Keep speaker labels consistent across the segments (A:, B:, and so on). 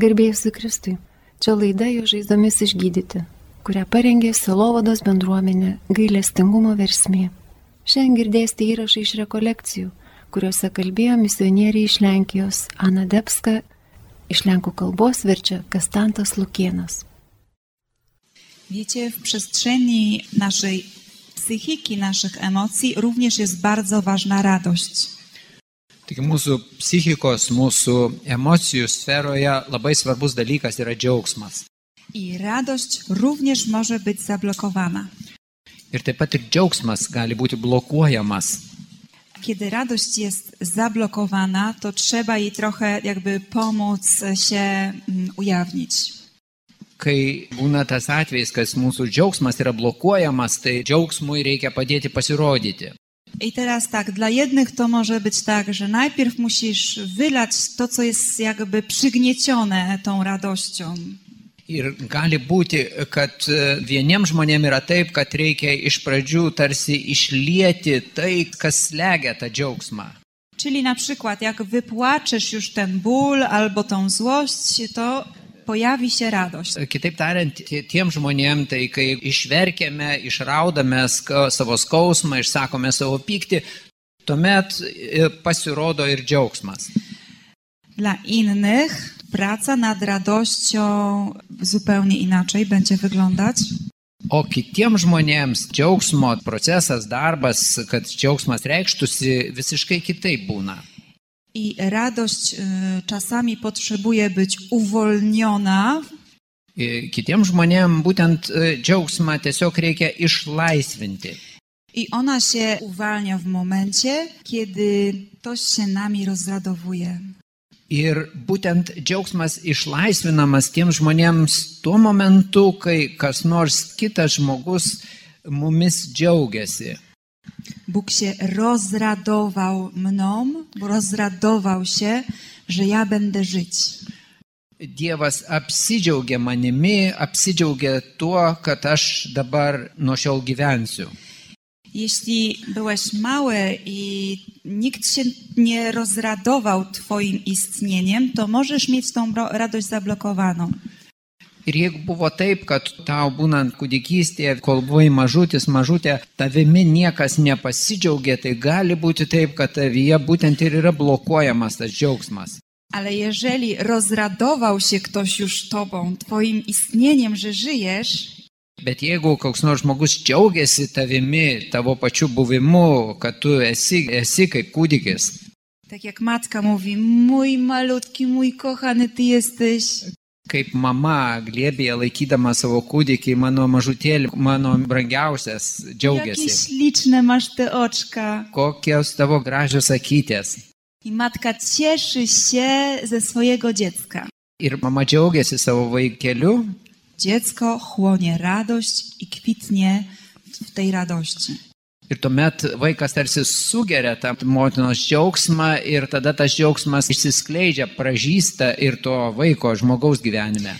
A: Gerbėjus Kristui, čia laida jo žaizdomis išgydyti, kurią parengė Silovados bendruomenė gailestingumo versmė. Šiandien girdėsite įrašą iš rekolekcijų, kuriuose kalbėjo misionieriai iš Lenkijos Ana Debska, iš Lenkų kalbos verčia Kastantas Lukienas.
B: Wiecie, w przestrzeni naszej psychiki, naszych emocji również jest bardzo ważna radość.
C: Tik mūsų psichikos, mūsų emocijų sferoje labai svarbus dalykas yra džiaugsmas.
B: I radość również może być zablokowana.
C: Ir taip pat ir džiaugsmas gali būti blokuojamas.
B: Kiedy radość jest zablokowana, to trzeba jej trochę jakby pomóc się mm, ujawnić.
C: Kai būna tas atvejis, kad mūsų džiaugsmas yra blokuojamas, tai džiaugsmui reikia padėti pasirodyti.
B: I teraz tak, dla jednych to może być tak, że najpierw musisz wylać to, co jest jakby przygniecione tą radością.
C: Ir gali būti, kad e, vieniems žmonėms yra taip, kad reikia iš pradžių tarsi išlieti tai, kas slegia tą džiaugsmą.
B: Czyli na przykład, jak wypłaczesz już ten ból albo tą złość, to pojawi się radość.
C: Kitaip tariant, tie- tiem žmonėm, tai kai išverkėme, išraudame ska, savo skausmą, išsakome savo pyktį, tuomet e, pasirodo ir džiaugsmas.
B: Dla innych praca nad radością zupełnie inaczej będzie wyglądać.
C: O kitiems žmonėms džiaugsmo procesas, darbas, kad džiaugsmas reikštųsi, visiškai kitaip būna.
B: I radość y, czasami potrzebuje być uwolniona,
C: E, Kitiems žmonėms būtent e, džiaugsmą tiesiog reikia išlaisvinti.
B: i ona się uwalnia w momencie, kiedy ktoś się nami rozradowuje.
C: Ir būtent džiaugsmas išlaisvinamas tiems žmonėms tuo momentu, kai kas nors kitas žmogus mumis džiaugiasi.
B: Bóg się rozradował mną, bo rozradował się, że ja będę żyć.
C: Dievas apsidžiaugia manimi, apsidžiaugia tuo, kad aš dabar nuo šiol gyvensiu.
B: Jeśli byłeś mały i nikt się nie rozradował Twoim istnieniem, to możesz mieć tą ro- radość zablokowaną.
C: Ir jeigu buvo taip, kad tau būnant kūdikystėje, kol buvai mažutis, mažutė, tavimi niekas nepasidžiaugia, tai gali būti taip, kad tavyje būtent ir yra blokuojamas tas džiaugsmas.
B: Ale jeżeli rozradował się ktoś już Tobą, Twoim istnieniem, że żyjesz,
C: Bet jeigu koks nors žmogus džiaugiasi tavimi, tavo pačiu buvimu, kad tu esi, esi kaip kūdikis,
B: tak jak matka mówi, mój malutki, mój kochany, Ty jesteś,
C: kaip mama glėbėje laikydama savo kūdikį, mano mažutėlį, mano brangiausias
B: jakie
C: džiaugiasi.
B: śliczne masz te oczka.
C: Kokios tavo gražios akytės.
B: I matka cieszy się ze swojego dziecka.
C: Ir mama džiaugiasi savo vaikeliu,
B: Dziecko chłonie radość i kwitnie w tej radości.
C: Ir tuomet vaikas tarsi sugeria tą motinos džiaugsmą ir tada tas džiaugsmas išsiskleidžia, pražįsta ir to vaiko žmogaus gyvenime.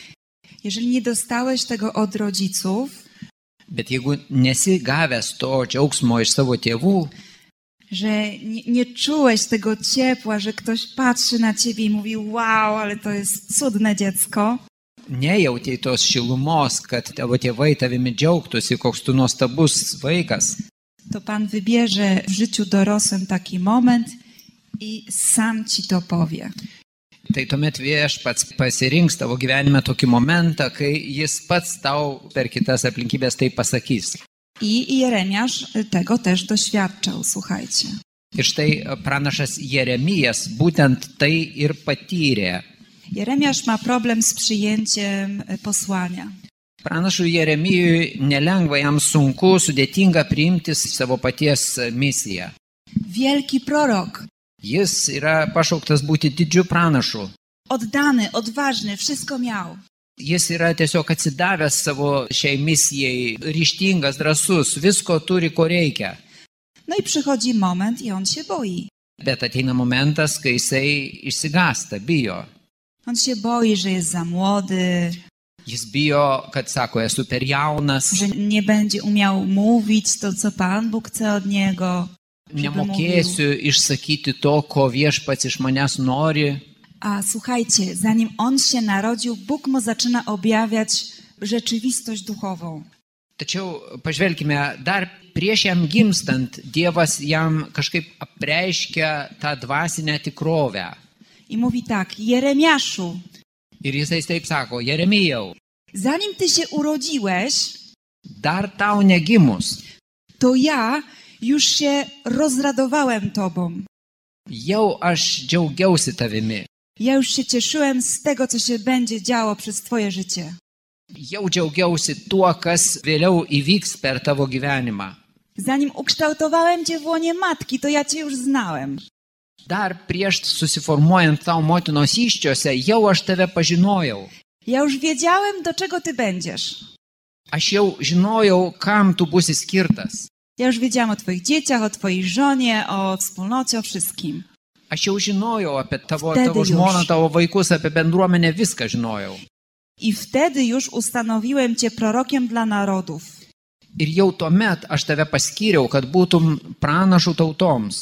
B: Jeżeli nie dostałeś tego od rodziców,
C: Bet jeigu nesi gavęs to džiaugsmo iš savo tėvų,
B: że nie, nie czułeś tego ciepła, że ktoś patrzy na ciebie i mówi: Wow, ale to jest cudne dziecko,
C: nejautėjai tos šilumos, kad tavo tėvai tavimi džiaugtųsi, koks tu nuostabus vaikas,
B: to Pan wybierze w życiu dorosłym taki moment i sam ci to powie.
C: tai tuomet viešpats pasirinks tavo gyvenime tokį momentą, kai jis pats tau per kitas aplinkybės tai pasakys.
B: I Jeremiasz tego też doświadczał, słuchajcie.
C: Ir štai pranašas Jeremijas būtent tai ir patyrė.
B: Jeremiasz ma problem z przyjęciem e, posłania.
C: Pranašui Jeremijui nelengva, jam sunku, sudėtinga priimti savo paties misiją.
B: Wielki prorok,
C: Jis yra pašauktas būti didžiu pranašu.
B: oddany, odważny, wszystko miał.
C: Jis yra tiesiog atsidavęs savo šiai misijai, ryštingas, drasus, visko turi, ko reikia.
B: No i przychodzi moment i on się boi.
C: Bet ateina momentas, kai jisai išsigasta, bijo.
B: On się boi, że jest za młody,
C: Jis bijo, kad sako, esu per jaunas,
B: że nie będzie umiał mówić to, co Pan Bóg chce od niego. żeby mówił.
C: nemokėsiu išsakyti to, ko viešpats iš manęs nori.
B: A słuchajcie, zanim on się narodził, Bóg mu zaczyna objawiać rzeczywistość duchową.
C: Tačiau pažvelkime, dar prieš jam gimstant Dievas jam kažkaip apreiškia tą dvasinę tikrovę.
B: I mówi tak: Jeremiaszu,
C: Ir jisai taip sako, Jeremijau,
B: zanim ty się urodziłeś,
C: dar tau negimus,
B: to ja już się rozradowałem tobą.
C: jau aš džiaugiausi tavimi,
B: Ja już się cieszyłem z tego, co się będzie działo przez twoje życie.
C: jau džiaugiausi tuo, kas vėliau įvyks per tavo gyvenimą.
B: Zanim ukształtowałem cię w łonie matki, to ja cię już znałem.
C: Dar prieš susiformuojant tau motinos iščiose, jau aš tave pažinojau.
B: Ja już wiedziałem, do czego ty będziesz.
C: Aš jau žinojau, kam tu būsi skirtas.
B: Ja już wiedziałam o twoich dzieciach, o twojej žonie, o wspólnocie, o wszystkim.
C: Aš jau žinojau apie tavo,
B: Wtedy
C: tavo
B: już.
C: žmoną, tavo vaikus, apie bendruomenę, viską žinojau.
B: I wtedy już ustanowiłem cię prorokiem dla narodów.
C: Ir jau tuomet aš tave paskyriau, kad būtum pranašų tautoms.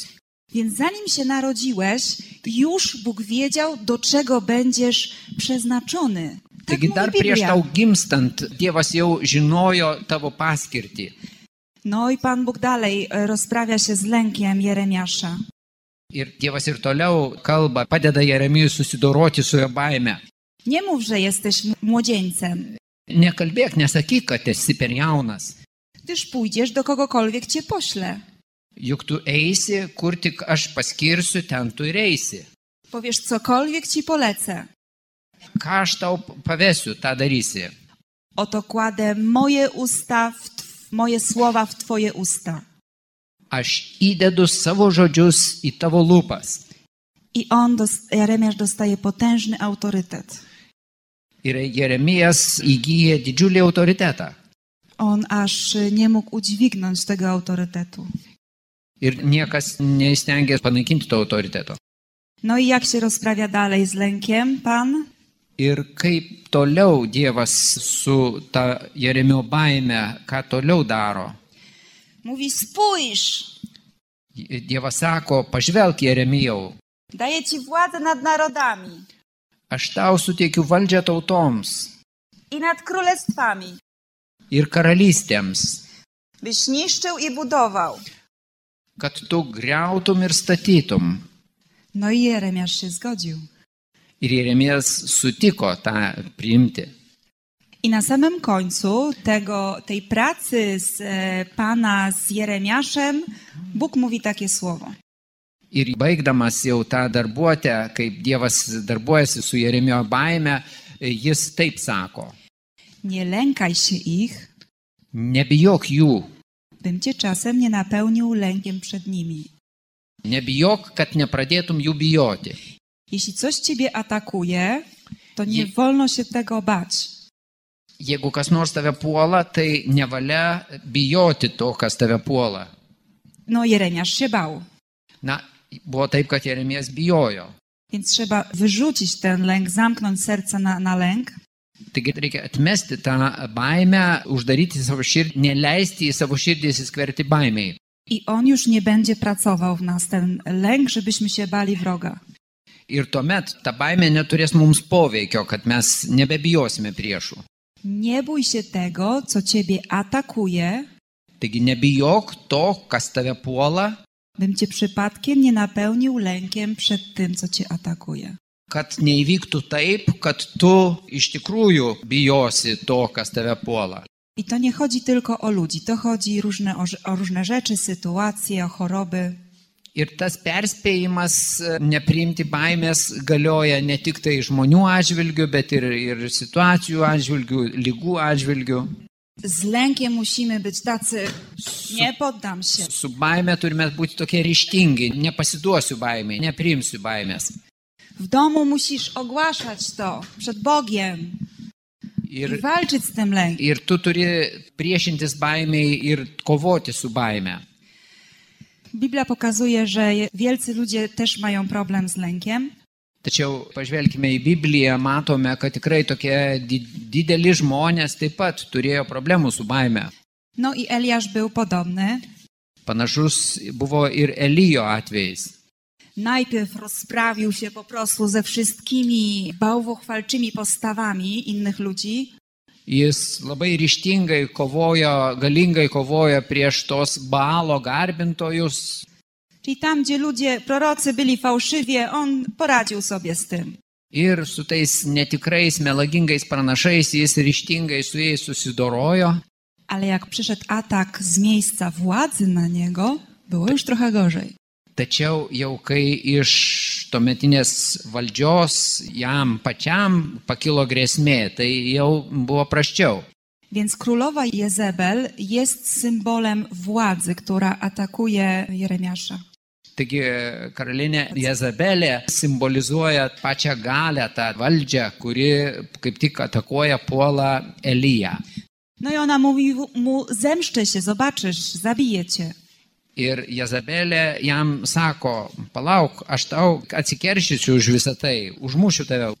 B: Więc zanim się narodziłeś, już Bóg wiedział, do czego będziesz przeznaczony. Tak
C: Taigi dar
B: mówi
C: prieš
B: Biblia.
C: tau gimstant Dievas jau žinojo tavo paskirtį.
B: No i Pan Bóg dalej e, rozprawia się z lękiem Jeremiasza.
C: Ir Dievas ir toliau kalba, padeda Jeremijui susidoroti su jo baime.
B: Nie mów, że jesteś m- młodzieńcem,
C: Nekalbėk, nesakyk, kad esi per jaunas.
B: gdyż pójdziesz do kogokolwiek cię pośle.
C: Juk tu eisi, kur tik aš paskirsiu, ten tu ir eisi.
B: Powiesz cokolwiek ci polecę.
C: Ką aš tau pavėsiu, tą darysi.
B: Oto kładę moje usta, w tw- moje słowa w twoje usta.
C: Aš įdedu savo žodžius į tavo lūpas.
B: I on, dos- Jeremiasz dostaje potężny autorytet.
C: Ir Jeremijas įgyja didžiulį autoritetą.
B: On aż y, nie mógł udźwignąć tego autorytetu.
C: Ir niekas neįstengė panaikinti to autoriteto.
B: No i jak się rozprawia dalej z lękiem, Pan?
C: Ir kaip toliau Dievas su ta Jeremio baime, ką toliau daro.
B: Mówi, spójrz,
C: Dievas sako, pažvelk Jeremijau,
B: daję ci władzę nad narodami
C: aš tau suteikiu valdžią tautoms
B: i nad królestwami,
C: ir karalystėms,
B: byś niszczył i budował.
C: kad tu greutum ir statytum.
B: No i Jeremiasz się zgodził.
C: Ir Jeremijas sutiko tą priimti.
B: I na samym końcu tego, tej pracy z e, Pana z Jeremiaszem, Bóg mówi takie słowo.
C: Ir baigdamas jau tą darbuotę, kaip Dievas darbuojasi su Jeremijo baime, jis taip sako,
B: Nie lękaj się ich,
C: nebijok jų,
B: bym cię czasem nie napełnił lękiem przed nimi.
C: nebijok, kad nepradėtum jų bijoti.
B: Jeśli coś ciebie atakuje, to nie
C: Je-
B: wolno się tego bać.
C: Jeigu kas nors tave puola, tai nevalia bijoti to, kas tave puola.
B: No Jeremiasz się bał,
C: Na, buvo taip, kad Jeremijas bijojo.
B: więc trzeba wyrzucić ten lęk, zamknąć serce na, na lęk.
C: Taigi reikia atmesti tą baimę, uždaryti savo širdį, neleisti į savo širdį įsiskverti baimiai.
B: I on już nie będzie pracował w nas, ten lęk, żebyśmy się bali wroga.
C: Ir tuomet ta baimė neturės mums poveikio, kad mes nebebijosime priešų.
B: Nie bój się tego, co ciebie atakuje,
C: Taigi nebijok to, kas tave puola,
B: bym cię przypadkiem nie napełnił lękiem przed tym, co cię atakuje.
C: kad neįvyktų taip, kad tu iš tikrųjų bijosi to, kas tave puola.
B: I to nie chodzi tylko o ludzi, to chodzi różne, o, rze- o różne rzeczy, sytuacje, o choroby.
C: Ir tas perspėjimas e, nepriimti baimės galioja ne tik tai žmonių atžvilgių, bet ir, ir situacijų atžvilgių, lygų atžvilgių.
B: Z lękiem musimy być tacy, nie poddam się.
C: Su baime turime būti tokie ryštingi, nepasiduosiu baimiai, nepriimsiu baimės.
B: W domu musisz ogłaszać to przed Bogiem
C: Ir
B: i walczyć z tym lękiem.
C: Ir tu turi priešintis baimiai ir kovoti su baime.
B: Biblia pokazuje, że je- wielcy ludzie też mają problem z lękiem.
C: Tačiau pažvelkime į Bibliją, matome, kad tikrai tokie di- dideli žmonės taip pat turėjo problemų su baime.
B: No i Eliasz był podobny.
C: Panašus buvo ir Elijo atvejais.
B: najpierw rozprawił się po prostu ze wszystkimi bałwochwalczymi postawami innych ludzi,
C: Jis labai ryštingai kovojo, galingai kovojo prieš tos balo garbintojus.
B: Czyli tam, gdzie ludzie, prorocy byli fałszywie, on poradził sobie z tym.
C: Ir su tais netikrais, melagingais pranašais jis ryštingai su jais susidorojo.
B: Ale jak przyszedł atak z miejsca władzy na niego, było już trochę gorzej.
C: Tačiau jau kai iš tuometinės valdžios jam pačiam pakilo grėsmė, tai jau buvo praščiau.
B: Więc królowa Jezebel jest symbolem władzy, która atakuje Jeremiasza.
C: Taigi karalinė Jezabelė simbolizuoja pačią galę, tą valdžią, kuri kaip tik atakuoja puolą Eliją.
B: No i ona mówi mu, zemszczę się, zobaczysz, zabiję cię.
C: Ir Jezabelė jam sako, palauk, aš tau atsikeršysiu už visą tai, užmušiu tave.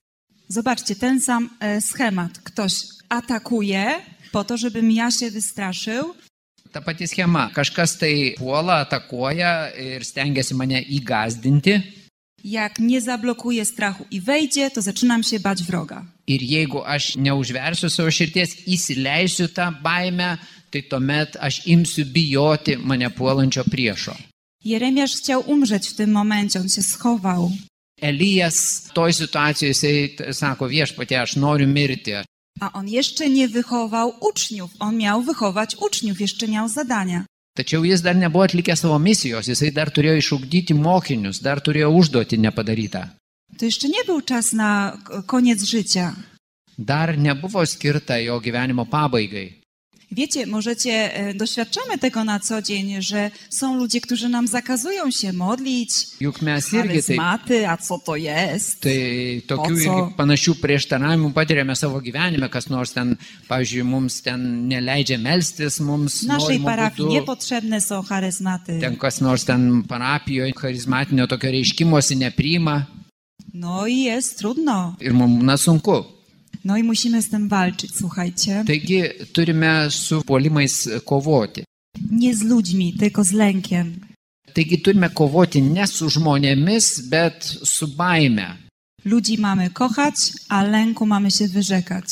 B: Zobaczcie, ten sam e, schemat. Ktoś atakuje po to, żebym ja się wystraszył,
C: Ta pati schema, kažkas tai puola, atakuoja ir stengiasi mane įgazdinti.
B: Jak nie zablokuję strachu i wejdzie, to zaczynam się bać wroga.
C: Ir jeigu aš neužversiu savo širties, įsileisiu tą baimę, tai tuomet aš imsiu bijoti mane puolančio priešo.
B: Jeremiasz chciał umrzeć w tym momencie, on się schował.
C: Elijas toj situacijoje jisai t- sako viešpatie, aš noriu mirti.
B: A on jeszcze nie wychował uczniów. On miał wychować uczniów, jeszcze miał zadania.
C: Tačiau jis dar nebuvo atlikęs savo misijos, jisai dar turėjo išugdyti mokinius, dar turėjo užduoti nepadarytą.
B: To jeszcze nie był czas na k- koniec życia.
C: Dar nebuvo skirta jo gyvenimo pabaigai.
B: Wiecie, możecie, e, doświadczamy tego na co dzień, że są ludzie, którzy nam zakazują się modlić.
C: Juk mes irgi taip,
B: Charyzmaty, a co to jest?
C: tai tokių
B: O co?
C: irgi panašių prieštaravimų patiriame savo gyvenime, kas nors ten, pavyzdžiui, mums ten neleidžia melstis, mums
B: W naszej
C: norimu
B: parafii
C: būdu-
B: niepotrzebne są charyzmaty.
C: ten kas nors ten parapijoje charizmatinio tokio reiškimosi nepriima
B: No i jest trudno.
C: ir mums na sunku.
B: No i musimy z tym walczyć, słuchajcie.
C: Taigi turime su puolimais kovoti.
B: Nie z ludźmi, tylko z lękiem.
C: Taigi turime kovoti ne su žmonėmis, bet su baime.
B: Ludzi mamy kochać, a lęku mamy się wyrzekać.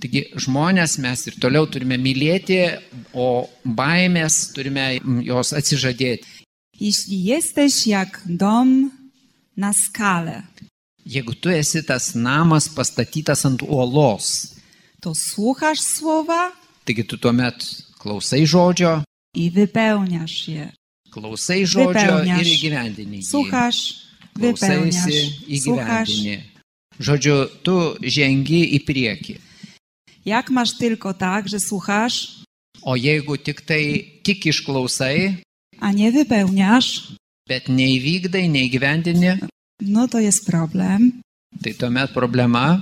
C: Taigi žmonės mes ir toliau turime mylėti, o baimės turime mm, jos atsižadėti.
B: Jeśli jesteś jak dom na skalę,
C: Jeigu tu esi tas namas pastatytas ant uolos,
B: to słuchasz słowa
C: taigi tu tuomet klausai žodžio,
B: i wypełniasz je.
C: klausai žodžio
B: Vypełniasz.
C: ir įgyvendini. jį.
B: Słuchasz, wypełniasz,
C: klausaisi
B: słuchasz.
C: įgyvendini. Žodžiu, tu žengi į priekį.
B: Jak masz tylko tak, że słuchasz,
C: O jeigu tik tai tik išklausai,
B: a nie wypełniasz,
C: bet neįvykdai, neįgyvendini,
B: no to jest problem.
C: tai tuomet problema,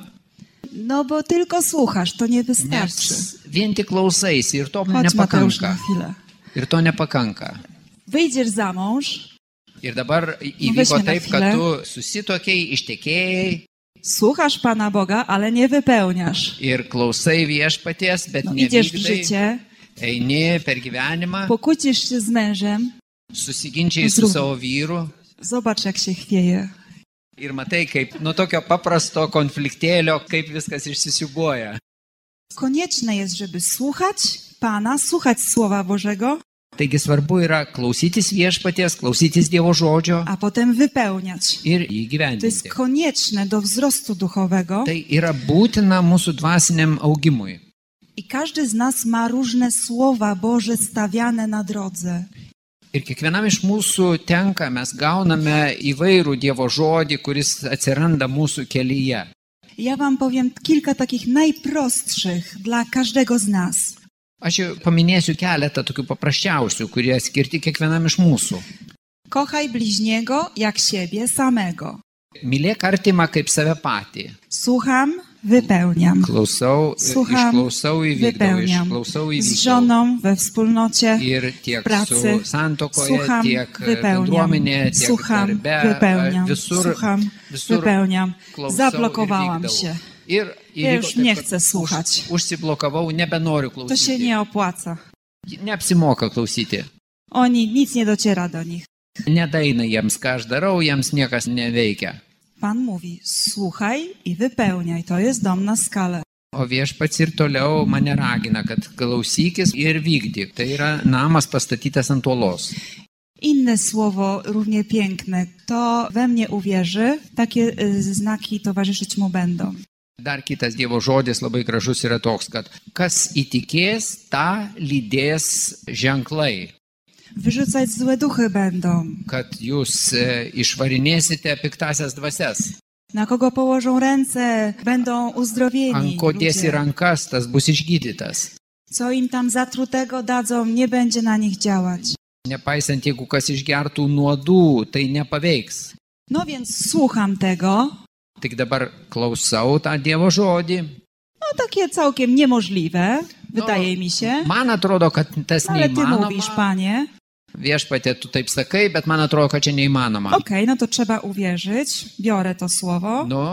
B: No bo tylko słuchasz, to nie
C: nes
B: wystarczy.
C: vien tik klausaisi ir to
B: Chodź Mateusz
C: nepakanka.
B: na chwilę.
C: Ir to nepakanka.
B: Wyjdziesz za mąż,
C: Ir dabar į-
B: Nu,
C: įvyko
B: vežkime
C: taip, kad
B: chwilę.
C: tu susitokiai, ištekėjai
B: słuchasz Pana Boga, ale nie wypełniasz.
C: ir klausai viešpaties, bet
B: No,
C: no,
B: idziesz w
C: nevykdai,
B: życie,
C: eini per gyvenimą,
B: pokłócisz się z mężem,
C: susiginčiai
B: Zrū.
C: su savo vyru,
B: zobacz jak się chwieje.
C: Ir matai, kaip nuo tokio paprasto konfliktėlio, kaip viskas išsisiuboja.
B: Konieczne jest, żeby słuchać Pana, słuchać Słowa Bożego,
C: Taigi svarbu yra klausytis viešpaties, klausytis Dievo žodžio
B: a potem wypełniać.
C: ir
B: To jest
C: įgyvendinti.
B: konieczne do wzrostu duchowego
C: Tai yra būtina mūsų dvasiniam augimui.
B: i każdy z nas ma różne słowa Boże stawiane na drodze.
C: Ir kiekvienam iš mūsų tenka, mes gauname įvairų Dievo žodį, kuris atsiranda mūsų kelyje.
B: Ja Wam powiem kilka takich najprostszych dla każdego z nas.
C: Aš jau paminėsiu keletą tokių paprasčiausių, kurie skirti kiekvienam iš mūsų.
B: Kochaj bliźniego jak siebie samego.
C: Mylėk artimą kaip save patį.
B: Słucham, wypełniam.
C: Klausau, Suham,
B: Słucham,
C: išklausau įvykdau,
B: wypełniam.
C: išklausau
B: Z
C: įvykdau.
B: żoną we wspólnocie.
C: Ir tiek
B: pracy.
C: su santokoje,
B: Słucham,
C: tiek e,
B: wypełniam.
C: bendruomenėje, tiek
B: Słucham,
C: darbe, e,
B: wypełniam.
C: visur,
B: Słucham,
C: visur
B: wypełniam.
C: klausau
B: Zablokowałam
C: ir vykdau.
B: się.
C: Ir
B: Ja
C: įvyko
B: już
C: taip,
B: nie
C: kad
B: chcę słuchać.
C: Už, užsiblokavau, nebenoriu
B: To się
C: klausyti.
B: nie opłaca.
C: Neapsimoka klausyti.
B: Oni, nic nie dociera do nich.
C: Nedaina jiems, ką aš darau, jiems niekas neveikia.
B: Pan mówi: Słuchaj i wypełniaj, to jest dom na skalę.
C: O viešpats ir toliau mane ragina, kad klausykis ir vykdyk. Tai yra namas pastatytas ant uolos.
B: Inne słowo równie piękne, to we mnie uwierzy, takie y, znaki towarzyszyć mu będą.
C: Dar kitas Dievo žodis labai gražus yra toks, kad kas įtikės, tą lydės ženklai.
B: Wyrzucać złe duchy będą.
C: Kad jūs e, išvarinėsite piktasias dvasias.
B: Na kogo położą ręce, będą uzdrowieni.
C: Ant ko dėsi
B: ludzie.
C: rankas, tas bus išgydytas.
B: Co im tam zatrutego dadzą, nie będzie na nich działać.
C: Nepaisant, jeigu kas išgertų nuodų, tai nepaveiks.
B: No więc słucham tego.
C: Tik dabar klausau tą Dievo žodį.
B: No takie całkiem niemożliwe,
C: No,
B: wydaje mi się.
C: Man atrodo, kad tas
B: Ale ty mówisz,
C: neįmanoma.
B: panie.
C: Viešpatė, tu taip sakai, bet man atrodo, kad čia neįmanoma.
B: Okej, no to trzeba uwierzyć. Biorę to słowo.
C: Nu,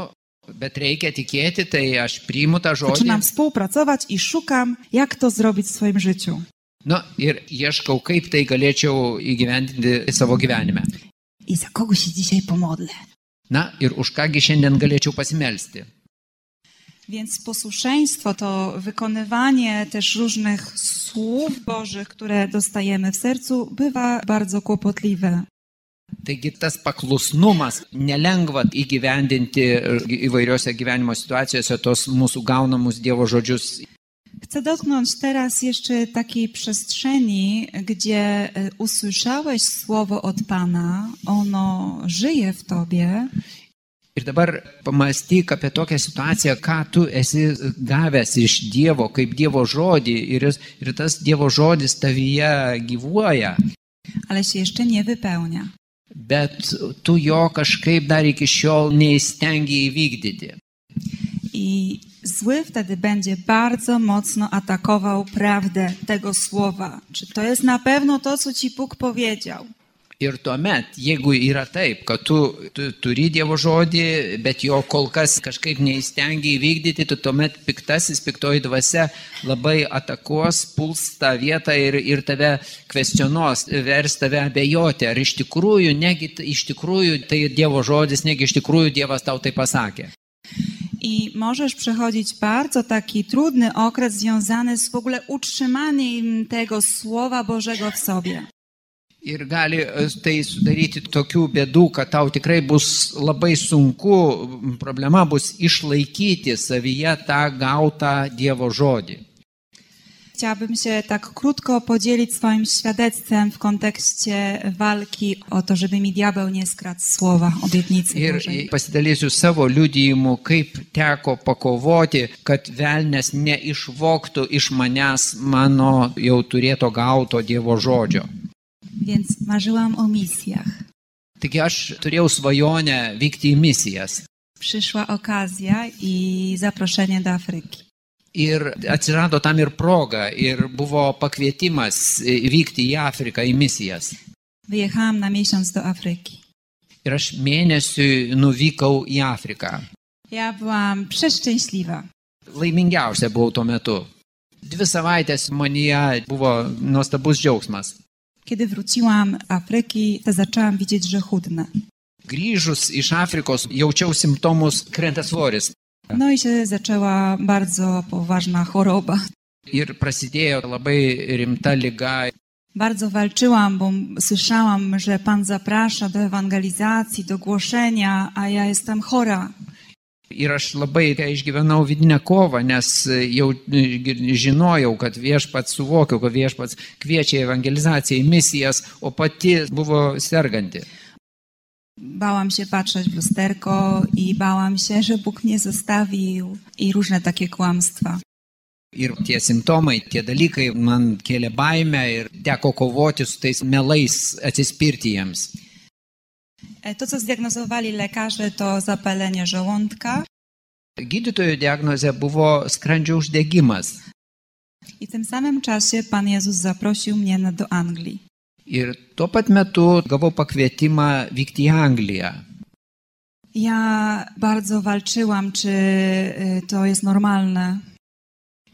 C: bet reikia tikėti, tai aš priimu tą žodį.
B: Zaczynam współpracować i szukam, jak to zrobić w swoim życiu.
C: Nu, ir ieškau, kaip tai galėčiau įgyvendinti savo gyvenime.
B: I za kogo się dzisiaj pomodlę?
C: Na ir už kągi šiandien galėčiau pasimelsti.
B: Więc posłuszeństwo to wykonywanie też różnych słów Bożych, które dostajemy w sercu, bywa bardzo kłopotliwe.
C: Taigi tas paklusnumas nelengva įgyvendinti e, įvairiose gyvenimo situacijose tos mūsų gaunamus Dievo žodžius.
B: Chcę dotknąć teraz jeszcze takiej przestrzeni, gdzie e, usłyszałeś słowo od Pana, ono żyje w tobie,
C: Ir dabar pamastyk apie tokią situaciją, ką tu esi gavęs iš Dievo, kaip Dievo žodį ir, jis, ir tas Dievo žodis tavyje gyvuoja,
B: ale się jeszcze nie wypełnia.
C: bet tu jo kažkaip dar iki šiol neįstengi įvykdyti.
B: I zły wtedy będzie bardzo mocno atakował prawdę tego słowa. Czy to jest na pewno to, co ci Bóg powiedział?
C: Ir tuomet, jeigu yra taip, kad tu, tu turi Dievo žodį, bet jo kol kas kažkaip neįstengi įvykdyti, tu tuomet piktasis, piktoji dvasia labai atakuos, puls tą vietą ir, ir tave kvestionuos, vers tave abejoti, ar iš tikrųjų, negi t- iš tikrųjų tai Dievo žodis, negi iš tikrųjų Dievas tau tai pasakė.
B: I możesz przechodzić bardzo taki trudny okres związany z w ogóle utrzymaniem tego Słowa Bożego w sobie.
C: Ir gali e, tai sudaryti tokių bėdų, kad tau tikrai bus labai sunku, m, problema bus išlaikyti savyje tą gautą Dievo žodį.
B: Chciałabym się tak krótko podzielić swoim świadectwem w kontekście walki o to, żeby mi diabeł nie skradł słowa, obietnicy
C: Ir
B: Bożej.
C: pasidalysiu savo liudijimu, kaip teko pakovoti, kad velnės neišvoktų iš manęs mano jau turėto gauto Dievo žodžio.
B: Więc marzyłam o misjach.
C: Taigi aš turėjau svajonę vykti į misijas.
B: Przyszła okazja i zaproszenie do Afryki.
C: Ir atsirado tam ir proga, ir buvo pakvietimas e, vykti į Afriką, į misijas.
B: Wyjechałam na miesiąc do Afryki.
C: Ir aš mėnesiui nuvykau į Afriką.
B: Ja byłam przeszczęśliwa.
C: Laimingiausia buvau tuo metu. Dvi savaitės manyje buvo nuostabus džiaugsmas.
B: Kiedy wróciłam z Afryki, to zaczęłam widzieć, że chudnę.
C: Grįžus iš Afrikos jaučiau simptomus krenta svoris
B: No i się zaczęła bardzo poważna choroba.
C: ir prasidėjo labai rimta lyga.
B: Bardzo walczyłam, bo słyszałam, że Pan zaprasza do ewangelizacji, do głoszenia, a ja jestem chora.
C: Ir aš labai tai išgyvenau vidinę kovą, nes jau gi- žinojau, kad viešpats suvokiau, kad viešpats kviečia į evangelizaciją, į misijas, o pati buvo serganti.
B: Bałam się patrzeć w lusterko i bałam się, że Bóg mnie zostawił i różne takie kłamstwa.
C: Ir tie simptomai, tie dalykai man kėlė baimę ir teko kovoti su tais melais, atsispirti jiems.
B: E, To, co zdiagnozowali lekarze, to zapalenie żołądka
C: Gydytojų diagnozė buvo skrandžio uždegimas.
B: i w tym samym czasie Pan Jezus zaprosił mnie na- do Anglii.
C: Ir tuo pat metu gavau pakvietimą vykti į Angliją.
B: Ja bardzo walczyłam, czy y, to jest normalne.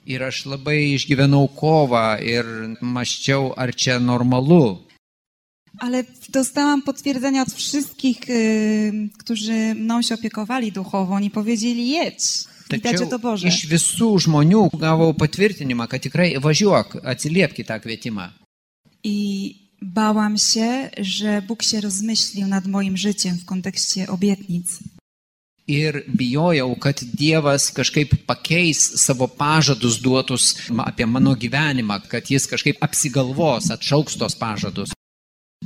C: Ir aš labai išgyvenau kovą ir maščiau, ar čia normalu.
B: Ale dostałam potwierdzenia od wszystkich, y, którzy mną się opiekowali duchowo. Oni powiedzieli, jedź i dać
C: Tačiau
B: Tai to Boże.
C: iš visų žmonių gavau patvirtinimą, kad tikrai važiuok, atsiliepk į tą kvietimą.
B: I bałam się, że Bóg się rozmyślił nad moim życiem w kontekście obietnic.
C: Ir bijojau, kad Dievas kažkaip pakeis savo pažadus duotus ma- apie mano gyvenimą, kad jis kažkaip apsigalvos, atšauks tos pažadus.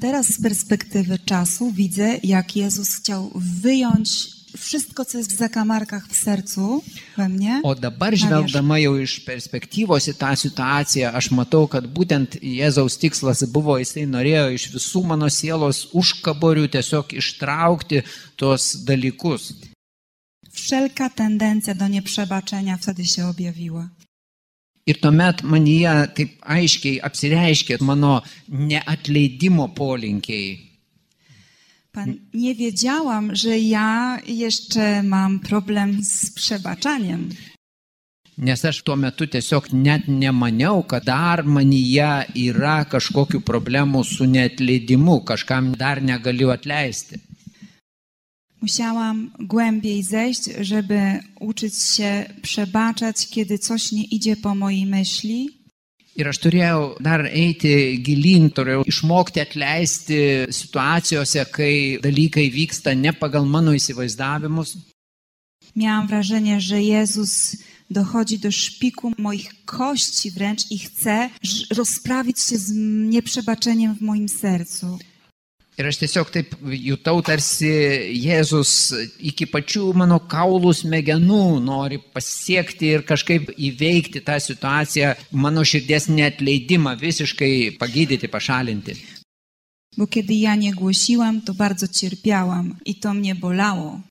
B: Teraz z perspektywy czasu widzę, jak Jezus chciał wyjąć wszystko, co jest w zakamarkach w sercu we mnie.
C: O dabar
B: Na
C: žvelgdama jau iš perspektyvos į tą situaciją, aš matau, kad būtent Jėzaus tikslas buvo, jisai norėjo iš visų mano sielos užkaborių tiesiog ištraukti tos dalykus.
B: Wszelka tendencja do nieprzebaczenia wtedy się objawiła.
C: Ir tuomet manyje taip aiškiai apsireiškė mano neatleidimo polinkiai.
B: Pan, nie wiedziałam, że ja jeszcze mam problem z przebaczaniem.
C: Nes aš tuo metu tiesiog net nemaniau, kad dar manyje yra kažkokių problemų su neatleidimu, kažkam dar negaliu atleisti.
B: Musiałam głębiej zejść, żeby uczyć się przebaczać, kiedy coś nie idzie po mojej myśli,
C: Ir aš turėjau dar eiti gilin, turėjau išmokti atleisti situacijose, kai dalykai vyksta ne pagal mano įsivaizdavimus.
B: Miałam wrażenie, że Jezus dochodzi do szpiku moich kości wręcz i chce ż- rozprawić się z m- nieprzebaczeniem w moim sercu.
C: Ir aš tiesiog taip jutau, tarsi Jėzus iki pačių mano kaulų smegenų nori pasiekti ir kažkaip įveikti tą situaciją, mano širdies neatleidimą visiškai pagydyti, pašalinti.
B: Bo kiedy ja nie głosiłam, to bardzo cierpiałam i to mnie bolało.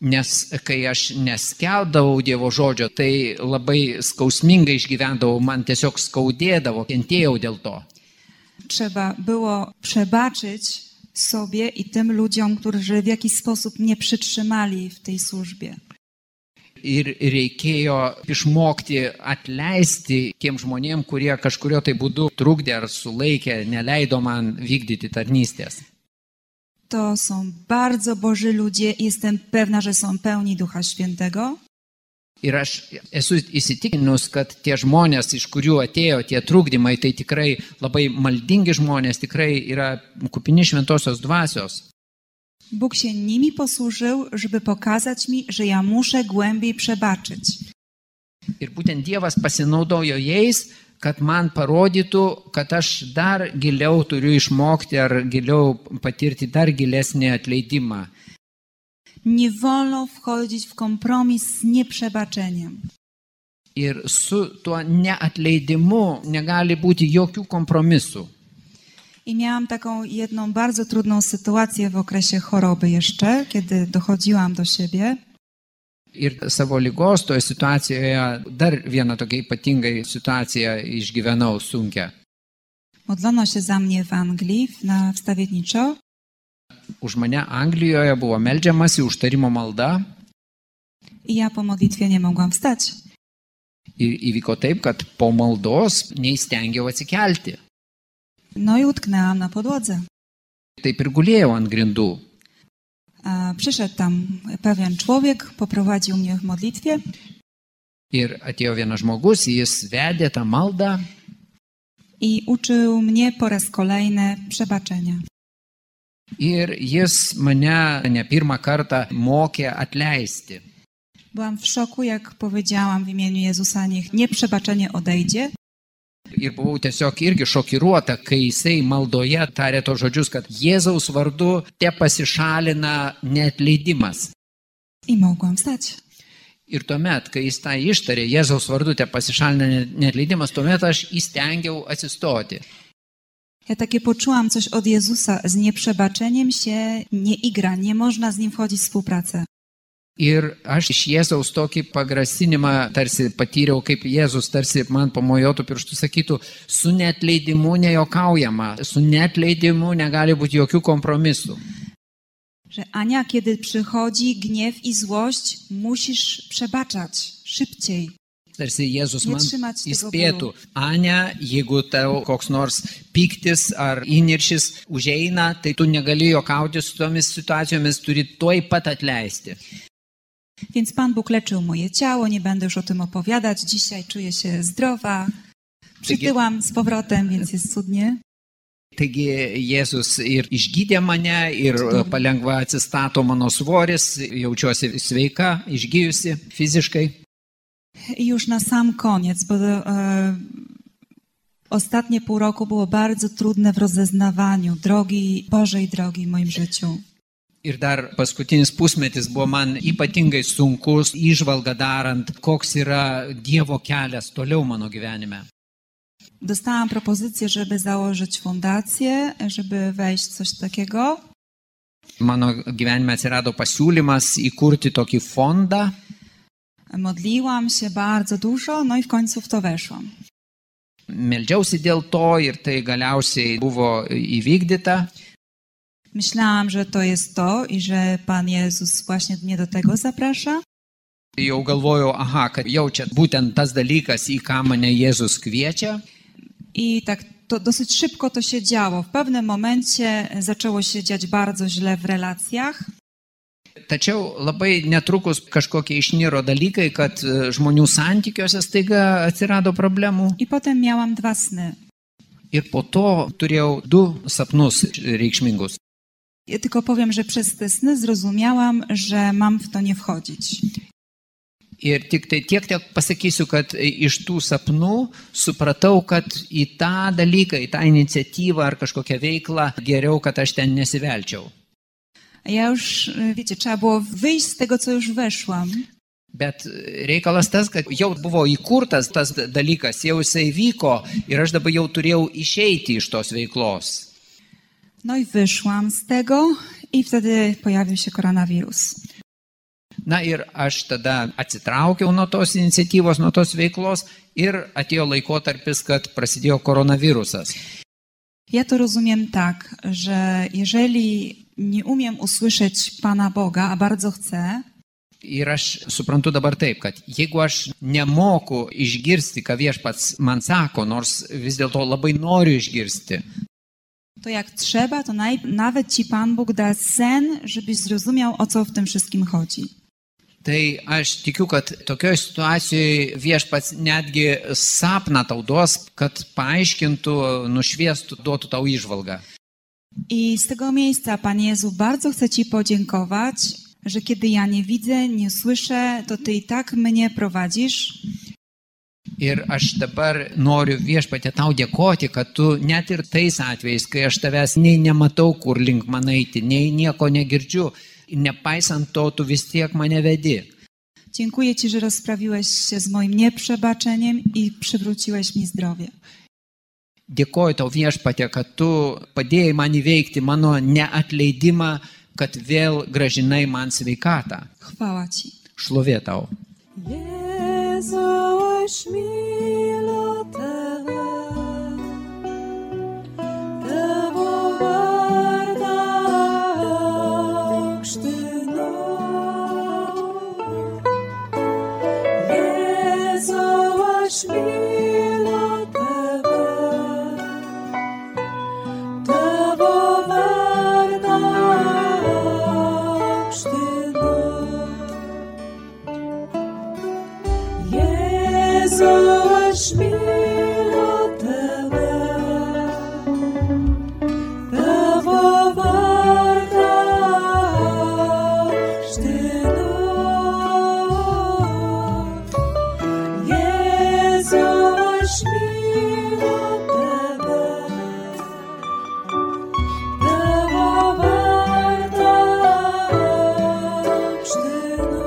C: Nes kai aš neskeldavau Dievo žodžio, tai labai skausmingai išgyvendavau, man tiesiog skaudėdavo, kentėjau dėl to.
B: Trzeba było przebaczyć sobie i tym ludziom, którzy w jakiś sposób mnie przytrzymali w tej służbie.
C: Ir reikėjo išmokti atleisti tiem žmonėm, kurie kažkurio tai būdu trukdė ar sulaikė, neleido man vykdyti tarnystės.
B: To są bardzo Boży ludzie i jestem pewna, że są pełni Ducha Świętego.
C: Ir aš esu įsitikinus, kad tie žmonės, iš kurių atėjo tie trukdymai, tai tikrai labai maldingi žmonės, tikrai yra kupini šventosios dvasios.
B: Bóg się nimi posłużył, żeby pokazać mi, że ja muszę głębiej przebaczyć.
C: Ir būtent Dievas pasinaudojo jais, kad man parodytų, kad aš dar giliau turiu išmokti ar giliau patirti dar gilesnį atleidimą.
B: Nie wolno wchodzić w kompromis z nieprzebaczeniem.
C: Ir su tuo neatleidimu negali būti jokių kompromisų.
B: I miałam taką jedną bardzo trudną sytuację w okresie choroby jeszcze, kiedy dochodziłam do siebie.
C: Ir savo lygos toje situacijoje dar vieną tokią ypatingą situaciją išgyvenau sunkę.
B: Modlono się za mnie w Anglii na wstawienniczo
C: Už mane Anglijoje buvo melžiamasi užtarimo malda
B: i ja po modlitwie nie mogłam wstać.
C: ir įvyko taip, kad po maldos neįstengiau atsikelti.
B: No i utknęłam na podłodze.
C: Taip ir guėjau ant grindų.
B: A przyszedł tam pewien człowiek, poprowadził mnie w modlitwie
C: Ir atėjo vienas žmogus, jis vedė tą maldą
B: i uczył mnie po raz kolejny przebaczenia.
C: ir jis mane ne pirmą kartą mokė atleisti.
B: Byłam w szoku, jak powiedziałam w imieniu Jezusa, niech nieprzebaczenie odejdzie.
C: Ir buvau tiesiog irgi šokiruota, kai jisai maldoje tarė to žodžius, kad Jėzaus vardu te pasišalina neatleidimas.
B: I mogłam wstać.
C: Ir tuomet, kai jis tą ištarė, Jėzaus vardu te pasišalina ne- neatleidimas, tuomet aš įstengiau atsistoti.
B: Ja takie poczułam coś od Jezusa. Z nieprzebaczeniem się nie igra, nie można z nim wchodzić w współpracę.
C: Ir aš iš Jėzaus tokį pagrasinimą tarsi patyriau, kaip Jėzus tarsi man pamojotų pirštų sakytų, su netleidimu nejokaujama, su netleidimu negali būti jokių kompromisų.
B: Że Ania, kiedy przychodzi gniew i złość, musisz przebaczać szybciej.
C: Tarsi Jėzus man
B: Netrzyma ci tego
C: įspėtų, Ane, jeigu tau koks nors piktis ar įniršis užeina, tai tu negali jokauti su tomis situacijomis, turi tuoj pat atleisti.
B: Więc Pan Bóg leczył moje ciało, nie będę już o tym opowiadać. Dzisiaj czuję się zdrowa. Przytyłam z powrotem, więc jest cudnie.
C: Taigi Jėzus ir išgydė mane, ir e, palengva atsistato mano svoris, jaučiuosi sveika, išgyjusi fiziškai.
B: I już na sam koniec, bo e, ostatnie pół roku było bardzo trudne w rozeznawaniu drogi Bożej drogi w moim życiu.
C: Ir dar paskutinis pusmetis buvo man ypatingai sunkus, išvalga darant, koks yra Dievo kelias toliau mano gyvenime.
B: Dostałam propozycję, żeby założyć fundację, żeby wejść w coś takiego.
C: Mano gyvenime atsirado pasiūlymas įkurti tokį fondą
B: Modliłam się bardzo dużo, no i w końcu w to weszłam.
C: Meldžiausi dėl to ir tai galiausiai buvo įvykdyta.
B: Myślałam, że to jest to i że Pan Jezus właśnie mnie do tego zaprasza.
C: Jau galvojau, aha, kad jau čia būtent tas dalykas, į ką mane Jėzus kviečia.
B: I tak to dosyć szybko to się działo. W pewnym momencie zaczęło się dziać bardzo źle w relacjach.
C: Tačiau labai netrukus kažkokie išniro dalykai, kad e, žmonių santykiuose staiga atsirado problemų.
B: I potem miałam dwa sny.
C: Ir po to turėjau du sapnus reikšmingus.
B: Ja tylko powiem, że przez te sny zrozumiałam, że mam w to nie wchodzić.
C: Ir tik tai tiek, tiek pasakysiu, kad iš tų sapnų supratau, kad į tą dalyką, į tą iniciatyvą ar kažkokią veiklą geriau, kad aš ten nesivelčiau.
B: A Ja już, y, wiecie, trzeba było wyjść z tego, co już weszłam.
C: Bet reikalas tas, kad jau buvo įkurtas tas dalykas, jau jisai vyko ir aš dabar jau turėjau išeiti iš tos veiklos.
B: No i wyszłam z tego i wtedy pojawił się koronawirus.
C: Na ir aš tada atsitraukiau nuo tos iniciatyvos, nuo tos veiklos ir atėjo laikotarpis, kad prasidėjo koronavirusas.
B: Ja to rozumiem tak, że jeżeli nie umiem usłyszeć Pana Boga, a bardzo chcę,
C: Ir aš suprantu dabar taip, kad jeigu aš nemoku išgirsti, ką viešpats man sako, nors vis dėlto labai noriu išgirsti,
B: to jak trzeba, to naj, nawet Ci Pan Bóg da sen, żebyś zrozumiał, o co w tym wszystkim chodzi.
C: tai aš tikiu, kad tokioje situacijoje viešpats netgi sapną tau duos, kad paaiškintų, nušviestų, duotų tau išvalgą.
B: I z tego miejsca, Panie Jezu, bardzo chcę Ci podziękować, że kiedy ja nie widzę, nie słyszę, to Ty i tak mnie prowadzisz.
C: Ir aš dabar noriu viešpatė tau dėkoti, kad tu net ir tais atvejais, kai aš tavęs nei nematau, kur link man eiti, nei nieko negirdžiu, nepaisant to, tu vis tiek mane vedi.
B: Dziękuję Ci, że rozprawiłeś się z moim nieprzebaczeniem i przywróciłeś mi zdrowie.
C: Dėkoju tau viešpatė, kad tu padėjai man įveikti mano neatleidimą, kad vėl gražinai man sveikatą.
B: Chwała Ci.
C: Šlovė tau.
D: Jėzaus myliu tave, tavo vardą aukštinu. Jėzau, aš myliu tave, tavo vardą aukštinu. Jėzau, aš myliu tave, tavo vardą aukštinu. Jėzau, aš myliu tave, tavo vardą aukštinu.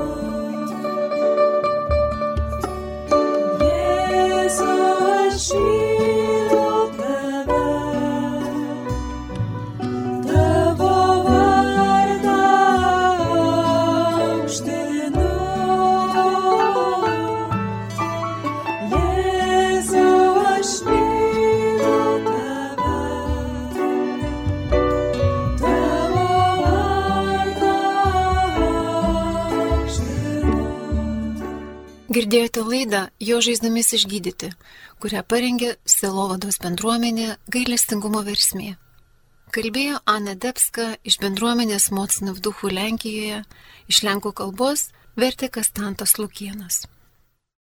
D: Jėzus, myliu tave, tavo vardą aukštinu. Jėzau, aš myliu tave, tavo vardą aukštinu.
A: Girdėjote laidą Jo žaizdomis išgydyti, kurią parengė Selovados bendruomenė gailestingumo versmė. Kalbėjo Ana Debska iš bendruomenės Mocinov Duhų Lenkijoje, iš lenkų kalbos vertė Kastantas Lukienas.